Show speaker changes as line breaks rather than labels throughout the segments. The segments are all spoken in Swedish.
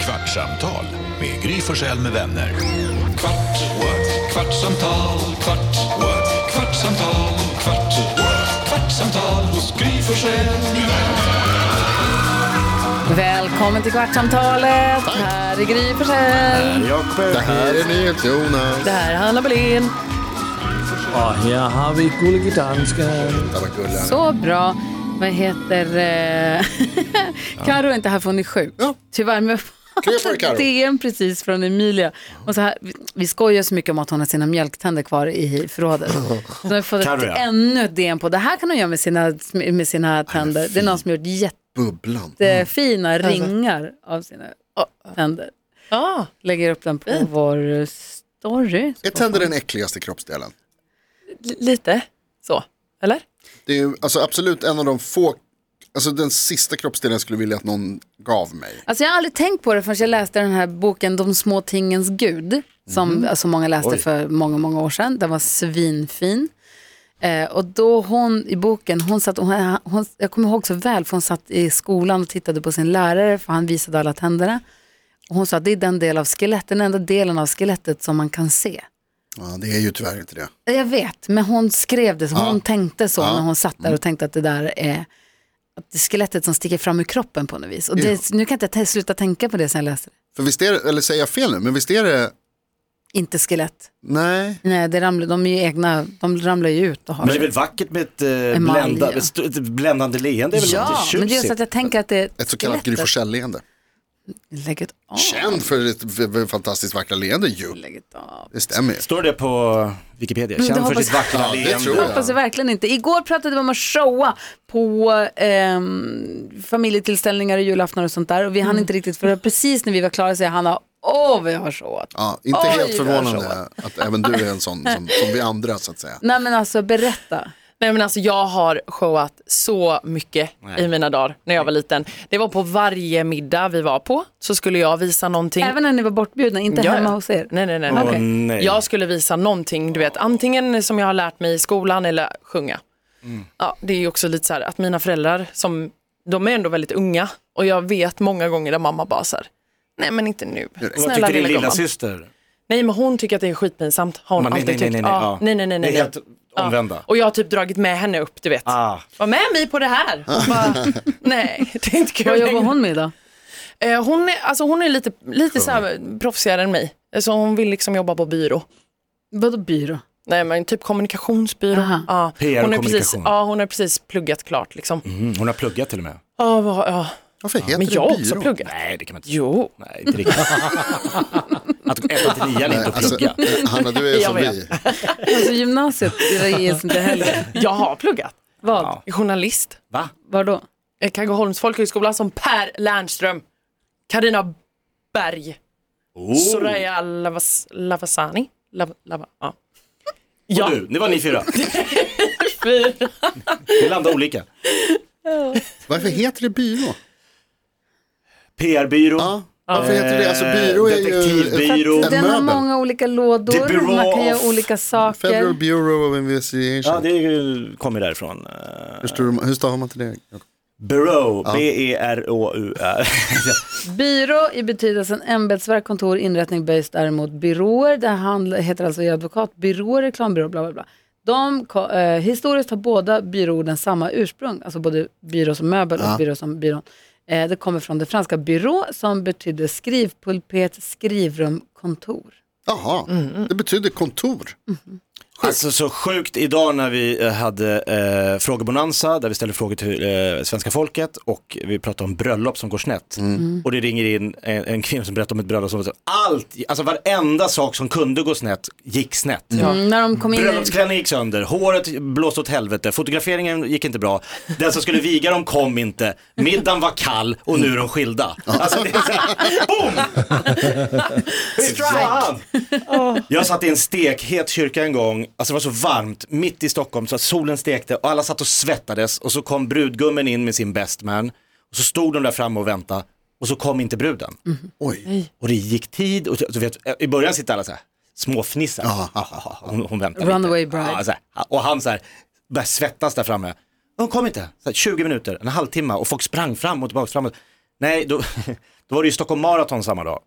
Kvartsamtal med Gry Forssell med vänner.
Kvart, what? kvartsamtal, kvart, what? kvartsamtal, kvart, what? kvartsamtal hos Gry Forssell med vänner.
Välkommen till Kvartsamtalet. Här är Gry Forssell.
Jakob.
Det här är NyhetsJonas.
Det här är Hanna Bolin.
Och här har vi gullige dansken.
Där var Gullan.
Så bra. Vad heter... Eh... Karo är inte här för hon är sjuk.
Ja.
Tyvärr. Men
Krya på dig, Karo.
DM precis från Emilia. Och så här, vi- vi skojar så mycket om att hon har sina mjölktänder kvar i förrådet. Så har vi fått
Karo,
ett,
ja.
ännu ett DM på det här kan hon göra med sina, med sina tänder. Det är någon som har gjort
Bubblan.
jättefina
Mm. Alltså.
ringar av sina tänder.
Ah.
Lägger upp den på vår story.
Är tänder den äckligaste kroppsdelen?
L- lite så, eller?
Det är ju alltså absolut en av de få, alltså den sista kroppsdelen jag skulle vilja att någon gav mig.
Alltså jag har aldrig tänkt på det förrän jag läste den här boken De små tingens gud. Som alltså många läste för många, många år sedan. Den var svinfin. Eh, och då hon i boken, hon satt, hon, hon, jag kommer ihåg så väl för hon satt i skolan och tittade på sin lärare för han visade alla tänderna. Och hon sa att det är den del av skelettet, den enda delen av skelettet som man kan se.
Ja, det är ju tyvärr inte det.
Jag vet, men hon skrev det så. Hon tänkte så när hon satt där och tänkte att det där är att det är skelettet som sticker fram ur kroppen på något vis. Och det, nu kan jag inte t- sluta tänka på det sen jag läste det.
För visst är det, eller säger jag fel nu, men visst är det,
Inte skelett.
nej.
Nej, det ramlar, de är ju egna, de ramlar ju ut och har
Men det är
sig.
väl vackert med ett, eh,
Emalj,
blända,
ja.
ett, st- ett bländande leende? Det är väl
Ja,
lite
men det är
tjusigt?
just att jag tänker att det är
Ett så kallat Gry Forssell-leende.
Lägg ett av.
Känd för ett v- v- fantastiskt vackra leende ju.
Lägg ett av.
Det stämmer ju.
Står det på Wikipedia?
det
Känd för
hoppas-
sitt vackra
Ja, det
leende.
tror jag.
Hoppas jag verkligen inte. Igår pratade vi om att showa på ehm, familjetillställningar och julaftnar och sånt där. Och vi
Mm.
hann inte riktigt för det. precis när vi var klara så jag Hanna, åh vad jag har showat.
Ja, inte
Oj,
helt
vad
förvånande att även du är en sån som, som vi andra så att säga.
Nej men alltså berätta.
Nej men alltså jag har showat så mycket i mina dagar när jag var liten. Det var på varje middag vi var på så skulle jag visa någonting.
Även när ni var bortbjudna, inte
Ja, ja.
hemma hos er?
Nej, nej, nej.
Åh, Okej.
nej.
Jag skulle visa någonting, du vet, antingen som jag har lärt mig i skolan eller sjunga.
Mm.
Ja, det är ju också lite så här att mina föräldrar, som, de är ändå väldigt unga och jag vet många gånger där mamma bara så här, nej men inte nu.
Och Vad tycker din lilla
gumman."
syster?
Nej men hon tycker att det är skitpinsamt. Har hon
Men nej,
alltid
nej, nej,
tyckt.
nej, nej,
Ja,
ja.
nej, nej, nej,
Det är
nej.
helt omvända.
Ja. Och jag har typ dragit med henne upp, du vet.
Ah,
Var med mig på det här. Och Bara, nej, det är inte kul
Vad jobbar
längre.
hon med idag?
Eh, hon är, alltså, hon är lite, lite så här proffsigare än mig. Så hon vill liksom jobba på byrå.
Vadå byrå?
Nej men typ kommunikationsbyrå.
Aha.
Ja.
PR
hon, är
och
precis,
kommunikation.
ja, hon har precis pluggat klart liksom.
mm, hon har pluggat till och med.
Ja, vad- ja.
Varför heter
Men jag har
det
också
byrå?
pluggat.
Nej, det kan man inte
Jo.
Nej, inte riktigt. att gå 1 till 9 är inte att
Alltså,
plugga.
Hanna, du är som
Jag
vi.
Alltså gymnasiet det ges inte heller.
Jag har pluggat.
Vad?
Ja.
Journalist.
Va?
Var då?
Eh, Kaggeholms folkhögskola som Per Lernström. Karina Berg.
Oh.
Soraya Lavas, Lavasani. Lav, lava, ja.
Och
Ja,
du, nu var ni fyra.
fy.
Vi landade olika.
Varför heter det byrå?
PR-byrå.
Ja, varför heter det? Alltså byrå är ju...
Detektivbyrå.
En
Den har
möbel.
många olika
The
lådor,
Bureau
man kan göra
of
olika
Federal
saker.
Bureau of Investigation.
Ja, det är ju- kommer därifrån.
hur, står, hur stavar man till det? Jakob?
Bureau, B-E-R-O-U-R.
Byrå i betydelsen ämbetsverk, kontor, inrättning böjs däremot byråer. Det handl- heter alltså i advokatbyrå, reklambyrå, bla bla bla. De, ko- eh, historiskt har båda byråorden samma ursprung, alltså både byrå som möbel och byrå som byrån. Eh, det kommer från det franska byrå som betyder skrivpulpet, skrivrum, kontor.
Jaha,
Mm,
det betyder kontor.
Alltså så sjukt idag när vi eh, hade eh, frågebonanza där vi ställde frågor till eh, svenska folket och vi pratade om bröllop som går snett. Och det ringer in en, en kvinna som berättar om ett bröllop som allt, alltså varenda sak som kunde gå snett gick snett.
Mm, när de kom in i...
Bröllopsklänningen gick sönder, håret blåste åt helvete, fotograferingen gick inte bra, den som skulle viga dem kom inte, middagen var kall och nu är de skilda. Alltså det är så här, boom! Fy fan! Jag satt i en stekhet kyrka en gång, alltså det var så varmt, mitt i Stockholm, så att solen stekte och alla satt och svettades och så kom brudgummen in med sin best man och så stod de där framme och väntade och så kom inte bruden.
Oj,
Och det gick tid och du vet, i början sitter alla så här småfnissar.
Ja.
Hon, hon väntar
Runaway
lite.
bride.
Ja, så här. Och han så här börjar svettas där framme. Hon kom inte. Så här, 20 minuter, en halvtimme och folk sprang fram och tillbaka. Fram och... Nej, då, då var det ju Stockholm Marathon samma dag.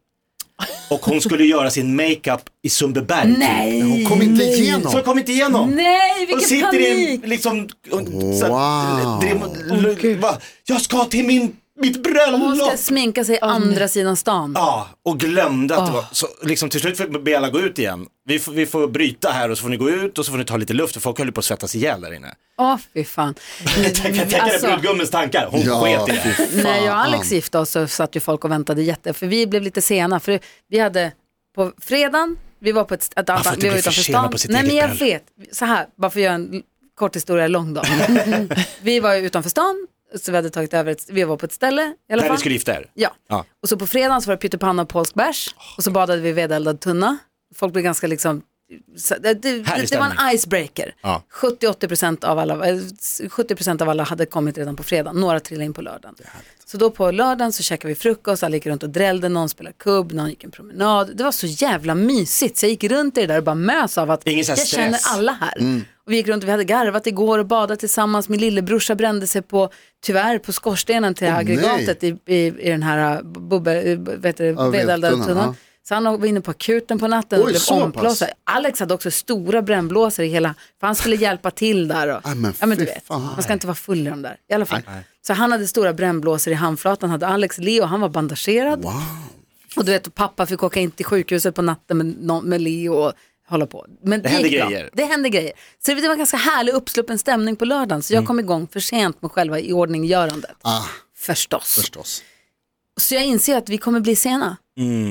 Och hon skulle göra sin makeup i Sundbyberg. typ.
Nej,
Kom inte igenom.
Så jag kom inte igenom.
nej,
och
vilken
sitter i
panik!
en, liksom, och, så,
Wow.
oh, va, jag ska till min, mitt
Hon
bröllop.
ska sminka sig andra sidan stan.
Ja, och glömde att det
Ah.
var, så liksom till slut fick- be alla gå ut igen. Vi får, vi får bryta här och så får ni gå ut och så får ni ta lite luft för folk höll ju på att svettas ihjäl där inne.
Åh, fy fan.
Tänk tänk dig
Alltså.
brudgummens tankar, hon
Ja,
sket i
fy
det.
fan.
När jag och Alex gifte oss så satt ju folk och väntade jätte, för vi blev lite sena. För vi hade på fredagen, vi var på ett, ett
får inte
vi var
bli
utanför
försenad
stan.
på sitt
Nej men
eget
jag
bröllop.
vet, så här, bara för att göra en l- kort historia lång då. vi var ju utanför stan, så vi hade tagit över, ett, vi var på ett ställe i alla
När ni
fall.
skulle gifta er.
Ja.
Ja.
Och så på fredagen så var det pyttipanna och polsk bärs och så badade vi i vedeldad tunna. Folk blev ganska liksom, så- det, det,
Härlig
det var
stämning.
en icebreaker.
Ja.
70-80% av, alla- eh, 70 av alla hade kommit redan på fredagen, några trillade in på lördagen. Så då på lördagen så käkade vi frukost, alla gick runt och drällde, någon spelade kubb, någon gick en promenad. Det var så jävla mysigt så jag gick runt i det där och bara mös av att
Ingen
jag
så här stress.
känner alla alla här. Och vi gick runt och vi hade garvat igår och badat tillsammans. Min lillebrorsa brände sig på, tyvärr, på skorstenen till aggregatet i, i, i den här eh, bubbe, vet du,
Ja,
vedeldade
vedtunnan,
tunnan.
ja.
Så han var inne på akuten på natten och
Oj,
blev
så pass.
omplåstrad. Alex hade också stora brännblåsor i hela, för han skulle hjälpa till där. Och,
Ja, men
ja, men du
fy
vet,
fan.
man ska inte vara full i de där. I alla fall. Så han hade stora brännblåsor i handflatan, hade Alex Leo, han var bandagerad. Och du vet, pappa fick åka in till sjukhuset på natten med, nå- med Leo och hålla på. Men det,
hände
gick bra.
grejer.
Det hände grejer. Så det var en ganska härlig uppsluppen stämning på lördagen. Så jag kom igång för sent med själva iordninggörandet.
Ah,
Förstås.
förstås. Mm.
Så jag inser att vi kommer bli sena.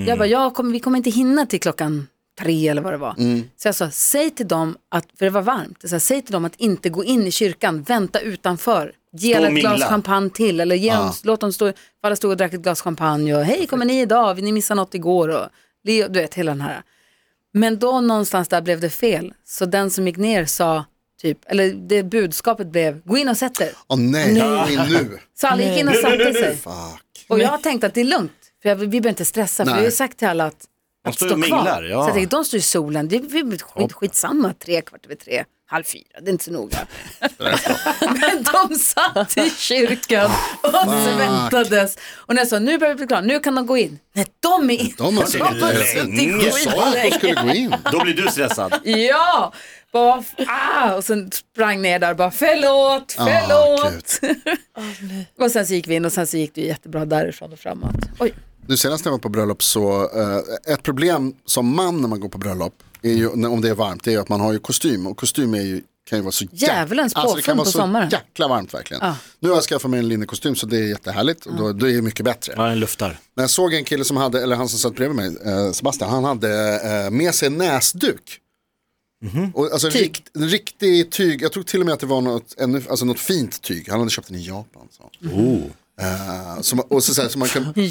Jag bara, jag kommer, vi kommer inte hinna till klockan tre eller vad det var.
Mm.
Så jag sa, säg till dem att, för det var varmt, så jag, sa, säg till dem att inte gå in i kyrkan, vänta utanför. Ge
Stå
alla
och
ett glas
mingla.
champagne till eller ge dem, låt dem stå, för alla stod och drack ett glas champagne och hej kommer ni idag, ni missade något igår och Leo, du vet hela den här. Men då någonstans där blev det fel, så den som gick ner sa typ, eller det budskapet blev, gå in och sätt er.
Åh nej, gå in nu.
Så alla gick in och satte sig.
Fuck.
Och jag har tänkt att det är lugnt, för jag, vi behöver inte stressa, för
Nej.
vi har ju sagt till alla att,
De
att
står
stå
ju och
kvar.
minglar, ja.
Så jag tänkte, de står i solen, det är vi- skit, skitsamma, tre, kvart över tre, halv fyra, det är inte så noga. Men de satt i kyrkan och svettades. Och när jag sa, nu börjar vi bli klara, nu kan de gå in. Nej, de är inte
De har suttit länge.
Ni
suttit
Sa att de
skitlänge.
skulle gå in.
Då blir du stressad.
Ja, bara, f- ah! och sen sprang ner där och bara förlåt, förlåt. och sen så gick vi in och sen så gick det ju jättebra därifrån och framåt. Oj.
Nu senast när jag var på bröllop så, eh, ett problem som man när man går på bröllop, är ju, när- om det är varmt, det är ju att man har ju kostym och kostym är ju, kan ju vara så jäk-
Djävulens
alltså, det
påfund
kan vara
på
så
sommaren.
jäkla varmt verkligen.
Ja.
Nu har jag skaffat mig en linnekostym så det är jättehärligt och då, då är det mycket bättre.
Ja, den luftar.
Men jag såg en kille som hade, eller han som satt bredvid mig, eh, Sebastian, han hade eh, med sig en näsduk. Och, alltså,
Mhm. Tyg.
Rikt, en riktig tyg, jag tror till och med att det var något, ännu, alltså, något fint tyg, han hade köpt den i Japan. Så.
Oh.
Eh, som, och så, så, här, så man kan,
Ja,
i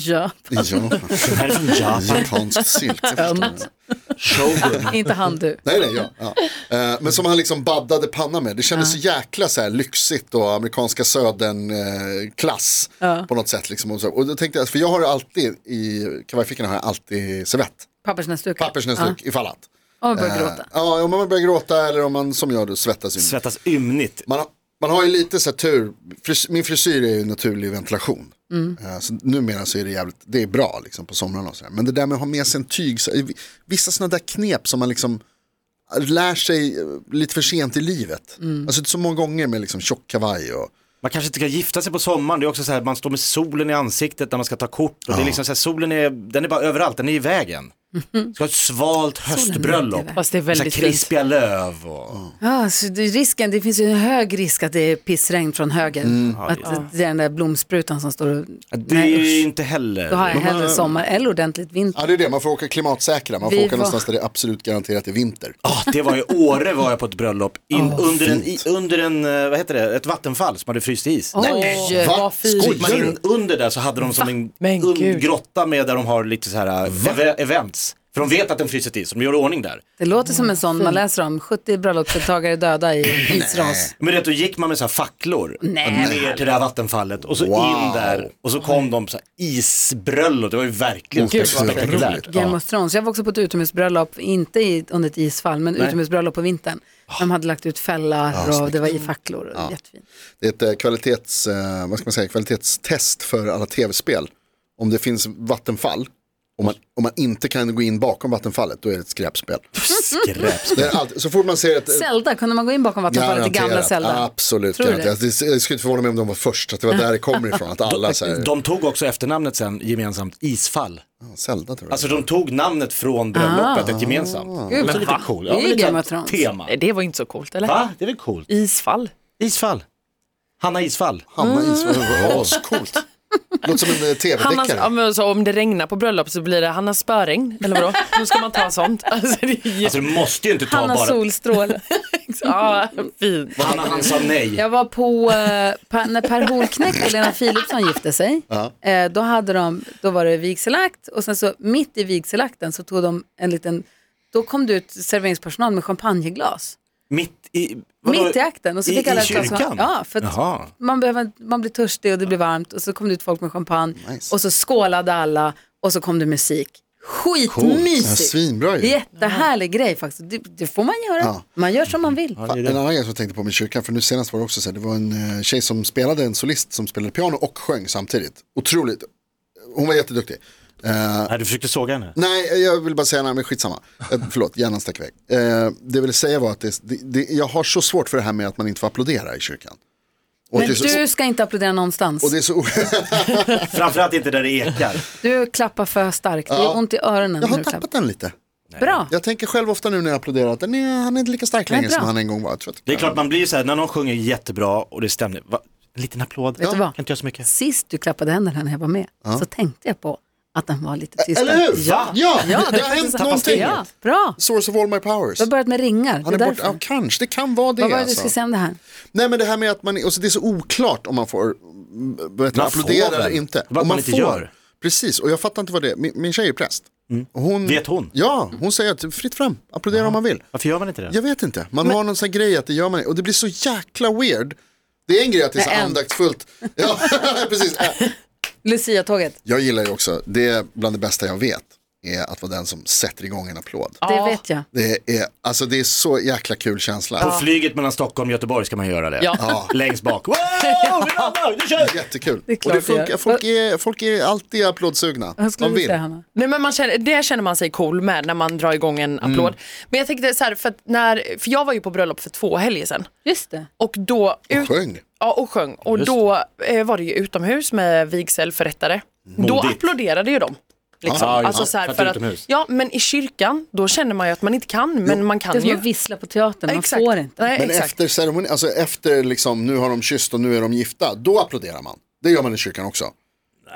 Japan.
Här är från Japan.
Japansk sylt. jag förstår inte.
Shogun.
inte han du.
Nej, nej, ja. ja. Eh, Men som han liksom baddade panna med. Det kändes så jäkla så här lyxigt och amerikanska södern-klass på något sätt. Liksom. Och så- Och då tänkte jag, för jag har ju alltid i kavajfickorna har jag alltid servett.
Pappersnäsdukar.
Pappersnäsduk ifall att.
Ja, och började
Eh,
gråta.
Ja, om man börjar gråta eller om man som jag då svettas. in.
Svettas ymnigt.
Man har, man har ju lite så här tur, Frys- min frisyr är ju naturlig ventilation.
Mm.
Eh, Så numera så är det jävligt, det är bra liksom på somrarna och sådär. Men det där med att ha med sig en tyg, så, vissa sådana där knep som man liksom lär sig eh, lite för sent i livet.
Mm.
Alltså så många gånger med liksom tjock kavaj och
Man kanske inte ska gifta sig på sommaren, det är också så här, man står med solen i ansiktet när man ska ta kort. Och det är liksom så här, solen är, den är bara överallt, den är i vägen.
Mhm.
Ska ha ett svalt höstbröllop.
Fast det är
Så här
väldigt fint.
krispiga löv och...
Ja, så det, är risken, det finns ju en hög risk att det är pissregn från höger. Att det är den där blomsprutan som står och...
Mm. Det
Nej,
är ju Ah,
usch.
inte heller...
Då har jag hellre sommar eller ordentligt vinter.
Ja det är det, man får åka klimatsäkra, man får
Vi
åka
var-
någonstans där det är absolut garanterat är vinter.
Ah, det var i Åre var jag på ett bröllop, in, under, en, i,
fint.
under en, eh, vad heter det, ett vattenfall som hade fryst i is.
Oj,
Va?
vad fint.
Skojar
Man
du?
in, under där så hade de som en
Men
un,
gud.
grotta med där de har lite så här eh, ev- events. För de vet att den fryser till is, så de gör i ordning där.
Det låter som en sån man läser om, 70 bröllopsdeltagare döda i isras.
Men vet, då gick man med så här facklor
Nej.
ner till det här vattenfallet och så
Wow.
in där och så kom de så här isbröllop, det var ju verkligen
Gud, vad
spektakulärt.
roligt.
Game of Thrones. Jag var också på ett utomhusbröllop, inte i, under ett isfall, men utomhusbröllop på vintern. De hade lagt ut fällar och det var i facklor. Och Jättefint.
Det är ett eh, kvalitets, eh, vad ska man säga, kvalitetstest för alla tv-spel. om det finns vattenfall, om man, om man inte kan gå in bakom vattenfallet, då är det ett skräpspel.
Skräps.
Det är allt, så fort man ser ett...
Zelda, kunde man gå in bakom vattenfallet i gamla
Garanterat,
Zelda?
Absolut,
Tror du
garanterat. Det? Jag skulle inte förvåna mig om de var först, att det var där det kommer ifrån, att alla så här,
De tog också efternamnet sen gemensamt, Isfall.
Zelda tror jag.
Alltså de tog namnet från bröllopet ett gemensamt. Men
Ah. Gud,
lite
va?
cool.
Det är
men lite
Game of
sånt
Thrones.
Tema.
Nej, det var inte så coolt, eller?
Va? Det är väl coolt?
Isfall.
Isfall. Hanna Isfall.
Hanna Isfall, ascoolt. Låter som en eh,
Hanna, ja,
tv-deckare.
men så om det regnar på bröllop så blir det Hanna Spöring, eller vadå? Då ska man ta sånt. Alltså, det är jätte...
Alltså du måste ju inte ta
Hanna
bara...
Solstråle.
ja, fint.
Hanna han sa nej.
Jag var på, eh, pa, när Per Holknekt och Lena Philipsson gifte sig, eh, då, hade de, då var det vigselakt och sen så mitt i vigselakten så tog de en liten, då kom det ut serveringspersonal med champagneglas.
Mitt i... vadå?
Mitt i akten. Och så
I-
fick
i
alla ett glas-
kyrkan?
Ja, för
Jaha.
att man, behöver, man blir törstig och det blir varmt och så kom det ut folk med champagne
Nice.
och så skålade alla och så kom det musik.
Ja,
Skitmysigt!
svinbra ju.
Jättehärlig grej faktiskt. Det, det får man göra.
Ja.
Man gör som man vill.
Fan, En annan grej som jag tänkte på med kyrkan, för nu senast var det också så här, det var en eh, tjej som spelade, en solist som spelade piano och sjöng samtidigt. Otroligt, hon var jätteduktig. Eh,
Nej, du försökte såga henne.
nej, jag vill bara säga, nej men skitsamma. Eh, förlåt, hjärnan stack iväg. Eh, det jag ville säga var att det, det, det, jag har så svårt för det här med att man inte får applådera i kyrkan. Och
Men
det är så,
du ska inte applådera någonstans.
och det är så,
Framförallt inte där det ekar.
Du klappar för starkt, det gör ont i öronen.
jag
när
har
du klappar.
tappat den lite.
Bra,
Jag tänker själv ofta nu när jag applåderar att den är, han är inte lika stark
Nej,
längre som
bra.
han en gång var. Jag tror att-
Det är klart man blir så här när någon sjunger jättebra och det stämmer. Va? En liten applåd.
vet du vad?
Kan inte göra så mycket.
Sist du klappade händerna när jag var med så tänkte jag på att den var lite tystare.
Eller hur?
Ja,
ja,
ja
det har hänt någonting.
Ja, bra,
Source of all my powers.
du har börjat med ringar.
Han är
det är därför.
borta, ja, kanske, det kan vara det.
Vad var det du
alltså.
skulle säga om det här?
Nej men det här med att man, och så det är så oklart om man får mm, vet,
Man
applådera
får
eller
väl?
inte.
Vad
Om
man inte gör.
Precis, och jag fattar inte vad det är. Min, min tjej är präst. Och hon,
Vet hon?
Ja, hon säger att fritt fram, applådera om man vill.
Varför gör man inte det?
Jag vet inte, man har någon sån här grej att det gör man och det blir så jäkla weird. Det är en grej att det är så
Med en.
andaktsfullt. Ja, precis.
Lucia-tåget,
Jag gillar ju också, det är bland det bästa jag vet, är att vara den som sätter igång en applåd.
det vet jag.
Det är, alltså det är så jäkla kul känsla.
På flyget mellan Stockholm och Göteborg ska man göra det.
Ja.
Längst bak. Wow, vi landar, nu kör vi!
Jättekul.
Det är klart
och det
det gör.
funkar, folk, är, folk är alltid applådsugna.
Vad skulle
De
du
vill.
säga Hanna?
Nej, men man känner, det känner man sig cool med när man drar igång
Mm.
en applåd. Men jag tänkte så här, för, att när, för jag var ju på bröllop för två helger sedan.
Just det.
Och då... Ut,
Sjöng.
Ja, och sjöng. Och då eh, var det ju utomhus med vigselförrättare. Då
Modigt.
applåderade ju de. Liksom.
Ah,
Ja, just
alltså
det.
så här,
För att
för att,
utomhus.
ja, men i kyrkan, då känner man ju att man inte kan, men man
Det är
kan
som
ju.
att vissla på teatern, man
Exakt.
får inte.
Nej,
Men
exakt.
efter ceremonin, alltså efter liksom, nu har de kysst och nu är de gifta, då applåderar man. Det gör man i kyrkan också.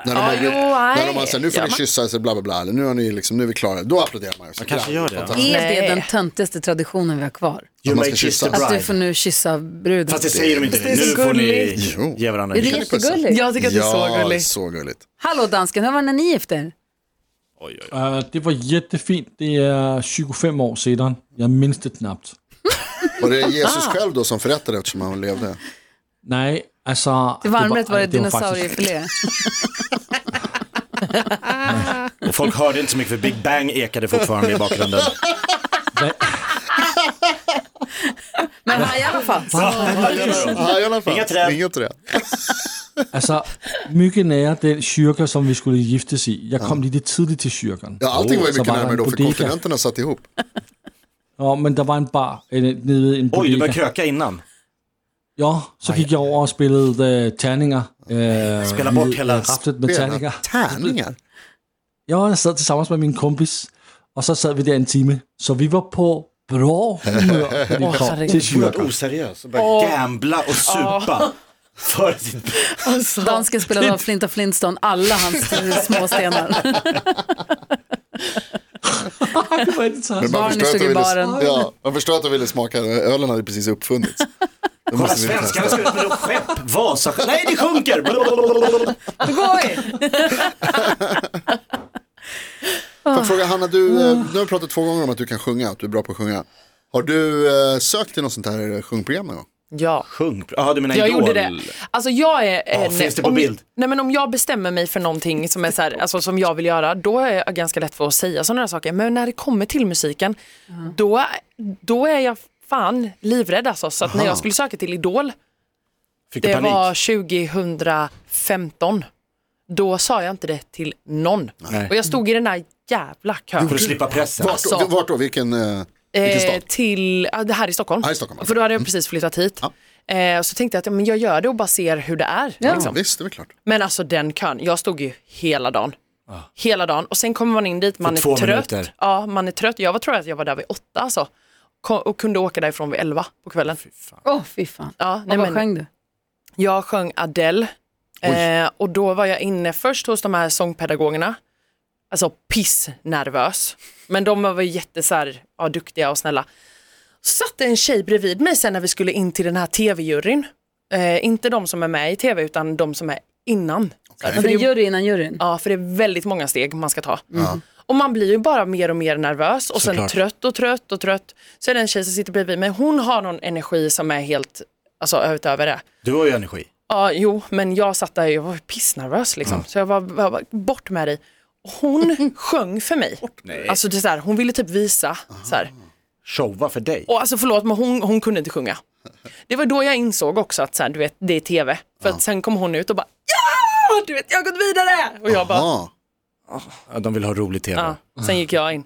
När de,
Ja,
har,
jo,
när de har
nej.
sagt, nu får
Gör
ni
man?
kyssa, så bla bla bla, eller nu, har ni liksom, nu är vi klara, då applåderar man. Man
kanske gör det, ja.
Är det
Nej.
den töntigaste traditionen vi har kvar?
You
man
may
ska
kiss the
kyssa.
Att du
bride.
får nu kyssa bruden.
Fast det säger de inte.
Det är så
Nu får ni
gulligt.
Jo.
ge varandra
Är
en
det
kyss.
jättegulligt?
Jag tycker att det är så
Ja,
gulligt.
så gulligt.
Hallå dansken, hur var det när ni gifte er?
Uh, det var jättefint. Det är 25 år sedan. Jag minns det knappt.
Var det Jesus
Ah.
själv då som förrättade eftersom han levde?
Nej, alltså...
Till varmrätt var det
faktiskt-
dinosauriefilé.
Och folk hörde inte så mycket för Big Bang ekade fortfarande i bakgrunden.
Nej,
Men han i alla fall.
Ja, i alla fall.
Inga träd.
Inga träd.
Alltså, mycket nära den kyrka som vi skulle giftes i. Jag kom lite tidigt till kyrkan.
Ja, allting var ju
Oh, Så
mycket
var det
närmare
en
då för
bodega.
kontinenterna satt ihop.
Ja, men det var en bar eh, nede i en
Oj, du började
bodega.
kröka innan.
Ja, så gick jag över och spelade eh, tärningar. Eh,
Spela bort
i,
hela
eh, raftet med tärningar.
Tärningar?
Ja, jag sad tillsammans med min kompis och så sad vi där en timme. Så vi var på bra humör när vi kom till kyrkan.
Oseriös och började gambla och supa. För sitt...
Dansken spelade av Flinta Flintstone alla hans småstenar.
Det var inte så här.
Men man
Barn
förstår
i
att de ville-
sugbaren.
Ja, man förstår att de ville smaka, ölen hade precis uppfunnits. Det
Kolla,
måste vi
svenskarna
testa.
ska ut med något skepp. Vasa. Nej, det sjunker! Blablabla.
Då går vi!
Får
Ah.
jag fråga Hanna, du,
Mm.
eh, du har pratat två gånger om att du kan sjunga, att du är bra på att sjunga. Har du eh, sökt till något sånt här sjungprogram någon gång?
Ja.
Sjung. Jaha, du menar
Jag
Idol?
gjorde det. Alltså jag är en,
finns det på
om,
bild?
Nej men om jag bestämmer mig för någonting som, är så här, alltså, som jag vill göra, då är jag ganska lätt för att säga sådana här saker. Men när det kommer till musiken, då, då är jag fan livrädd alltså. Så att när jag skulle söka till Idol,
Fick du
det
panik?
var 2015. Då sa jag inte det till någon. Och jag stod i den där jävla kön.
För att slippa pressen.
Vart,
Alltså-
då, vart då? Vilken, eh, vilken
Eh,
stad?
till, ja, det här i Stockholm.
Här i Stockholm,
För då hade jag precis flyttat hit. Eh, och så tänkte jag att ja, men jag gör det och bara ser hur det är.
Ja,
Liksom.
visst, det är väl klart.
Men alltså den kön, jag stod ju hela dagen. Hela dagen och sen kommer man in dit, man
två
är trött.
minuter.
Ja, man är trött. Jag var, tror att jag var där vid åtta alltså. Ko- och kunde åka därifrån vid elva på kvällen.
Åh, fy fan.
Ja,
Och
nej,
vad
men,
sjöng du?
jag sjöng Adele eh, och då var jag inne först hos de här sångpedagogerna. Alltså pissnervös. Men de var ju jätte så här, ja, duktiga och snälla. Satt en tjej bredvid mig sen när vi skulle in till den här tv-juryn. Eh, inte de som är med i tv utan de som är innan. Så här,
Och
för det
den
är ju
jury innan juryn.
Ja, för det är väldigt många steg man ska ta. Och man blir ju bara mer och mer nervös och sen trött och trött och trött. Så är det en tjej som sitter bredvid mig, hon har någon energi som är helt, alltså utöver det.
Du har ju energi.
Ja, jo, men jag satt där, jag var pissnervös liksom. Så jag var, var, var bort med dig. Och Hon sjöng för mig. Alltså det är så här, hon ville typ visa. Så här.
Showa för dig.
Och alltså förlåt, men hon, hon kunde inte sjunga. Det var då jag insåg också att så här, du vet, det är tv. För att sen kom hon ut och bara ja, du vet, jag har gått vidare. Och jag bara,
Ja.
Ja, de vill ha rolig tv.
Ja, sen gick jag in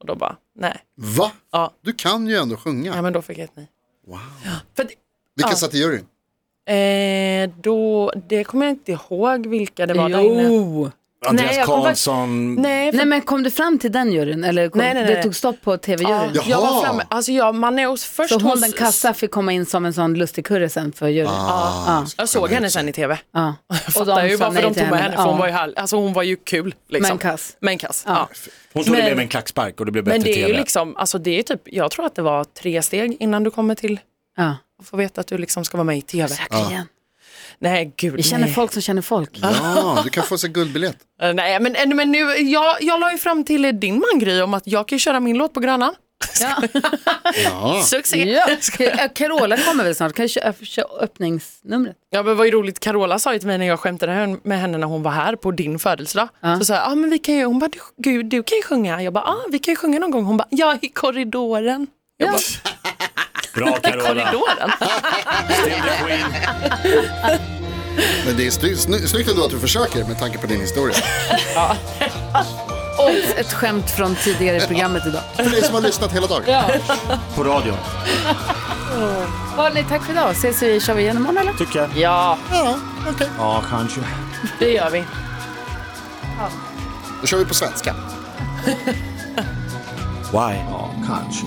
och då bara, nej,
Va?
Ja.
Du kan ju ändå
ja,
sjunga.
men då fick jag ett nej.
Wow.
För att,
Vilka
Ja.
satt i juryn?
eh, då, det kommer jag inte ihåg vilka det var där inne.
Jo!
Andreas
Nej, jag kom
Karlsson.
Nej, för,
Nej men kom du fram till den juryn eller kom,
Nej, nej,
det
nej.
tog stopp på
ja,
tv-juryn?
jag
Jaha.
var framme, alltså jag, man är hos, först
Så hon
hos,
den kassa fick komma in som en sån lustigkurre sen för juryn?
Ah,
jag såg henne sen i tv.
Ja.
Och Fattar ju
sa
varför
nej
de
till
tog med henne, för
Ja.
hon var ju, här, alltså hon var ju kul. Liksom.
Men kass.
Men kass, ja.
Hon tog det med
Men-
med en klackspark och det blev bättre
Men det är
tv.
ju liksom, alltså det är typ, jag tror att det var tre steg innan du kommer till
Ja.
att få veta att du liksom ska vara med i tv.
Igen.
Nej, gud.
Vi känner
nej.
folk som känner folk.
Ja, du kan få sig guldbiljett.
Eh, Nej, men, men nu, jag, jag la ju fram till eh, din man Gry om att jag kan ju köra min låt på Grönan.
Ja.
Ja.
Succé!
Ja. Ska- Carola kommer väl snart, kan du köra, köra öppningsnumret?
Ja, men vad är roligt, Carola sa ju till mig när jag skämtade här med henne när hon var här på din födelsedag. Så sa jag, ah, men vi kan ju, hon bara, du, gud, du kan ju sjunga. Jag bara, ah, vi kan ju sjunga någon gång. Hon bara, ja, i korridoren. Jag bara,
Bra Carola.
korridoren?
Men det är sny- sny- snyggt ändå att du försöker med tanke på din historia.
Och ett skämt från tidigare i programmet idag.
För dig som har lyssnat hela dagen.
På radion.
Hörni, tack för idag. Ses vi, kör vi igen imorgon eller?
Tycker jag.
Ja,
Ja, kanske.
det gör vi.
Då kör vi på svenska.
Why?
Ja, kanske.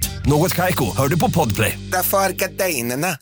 Något Kaiko, hör du på Podplay.
Därför arkadeinerna.